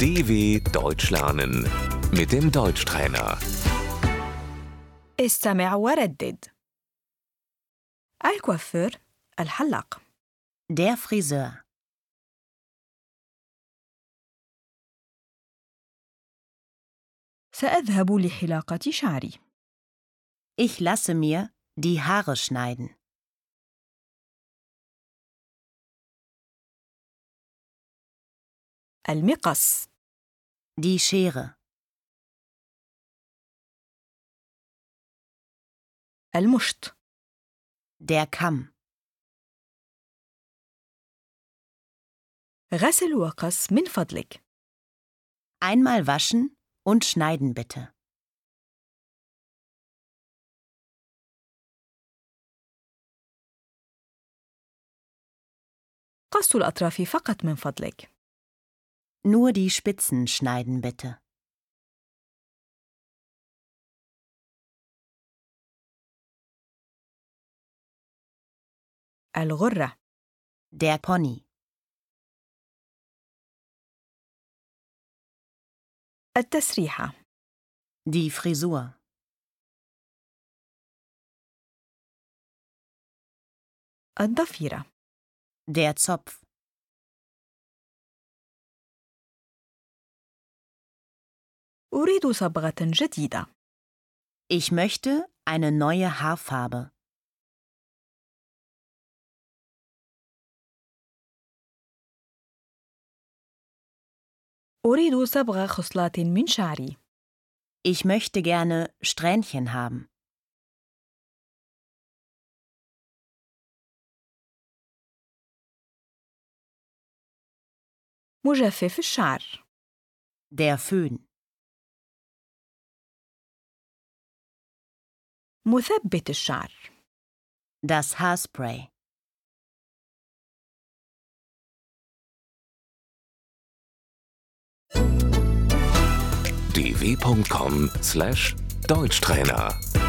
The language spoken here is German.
DW Deutsch lernen mit dem Deutschtrainer. استمع وردد الكوافير الحلاق Der Friseur. سأذهب لحلاقة شعري Ich lasse mir die Haare schneiden. المقص Die Schere. المشط Der Kamm. غسل وقص من فضلك Einmal waschen und schneiden bitte. قص الأطراف فقط من فضلك Nur die Spitzen schneiden bitte. الغرة Der Pony. التسريحة Die Frisur. الضفيرة Der Zopf. أريد صبغة جديدة Ich möchte eine neue Haarfarbe. أريد صبغة خصلات من شعري Ich möchte gerne Strähnchen haben. مجفف الشعر Der Föhn. مثبت الشعر Das Haarspray. dw.com/deutschtrainer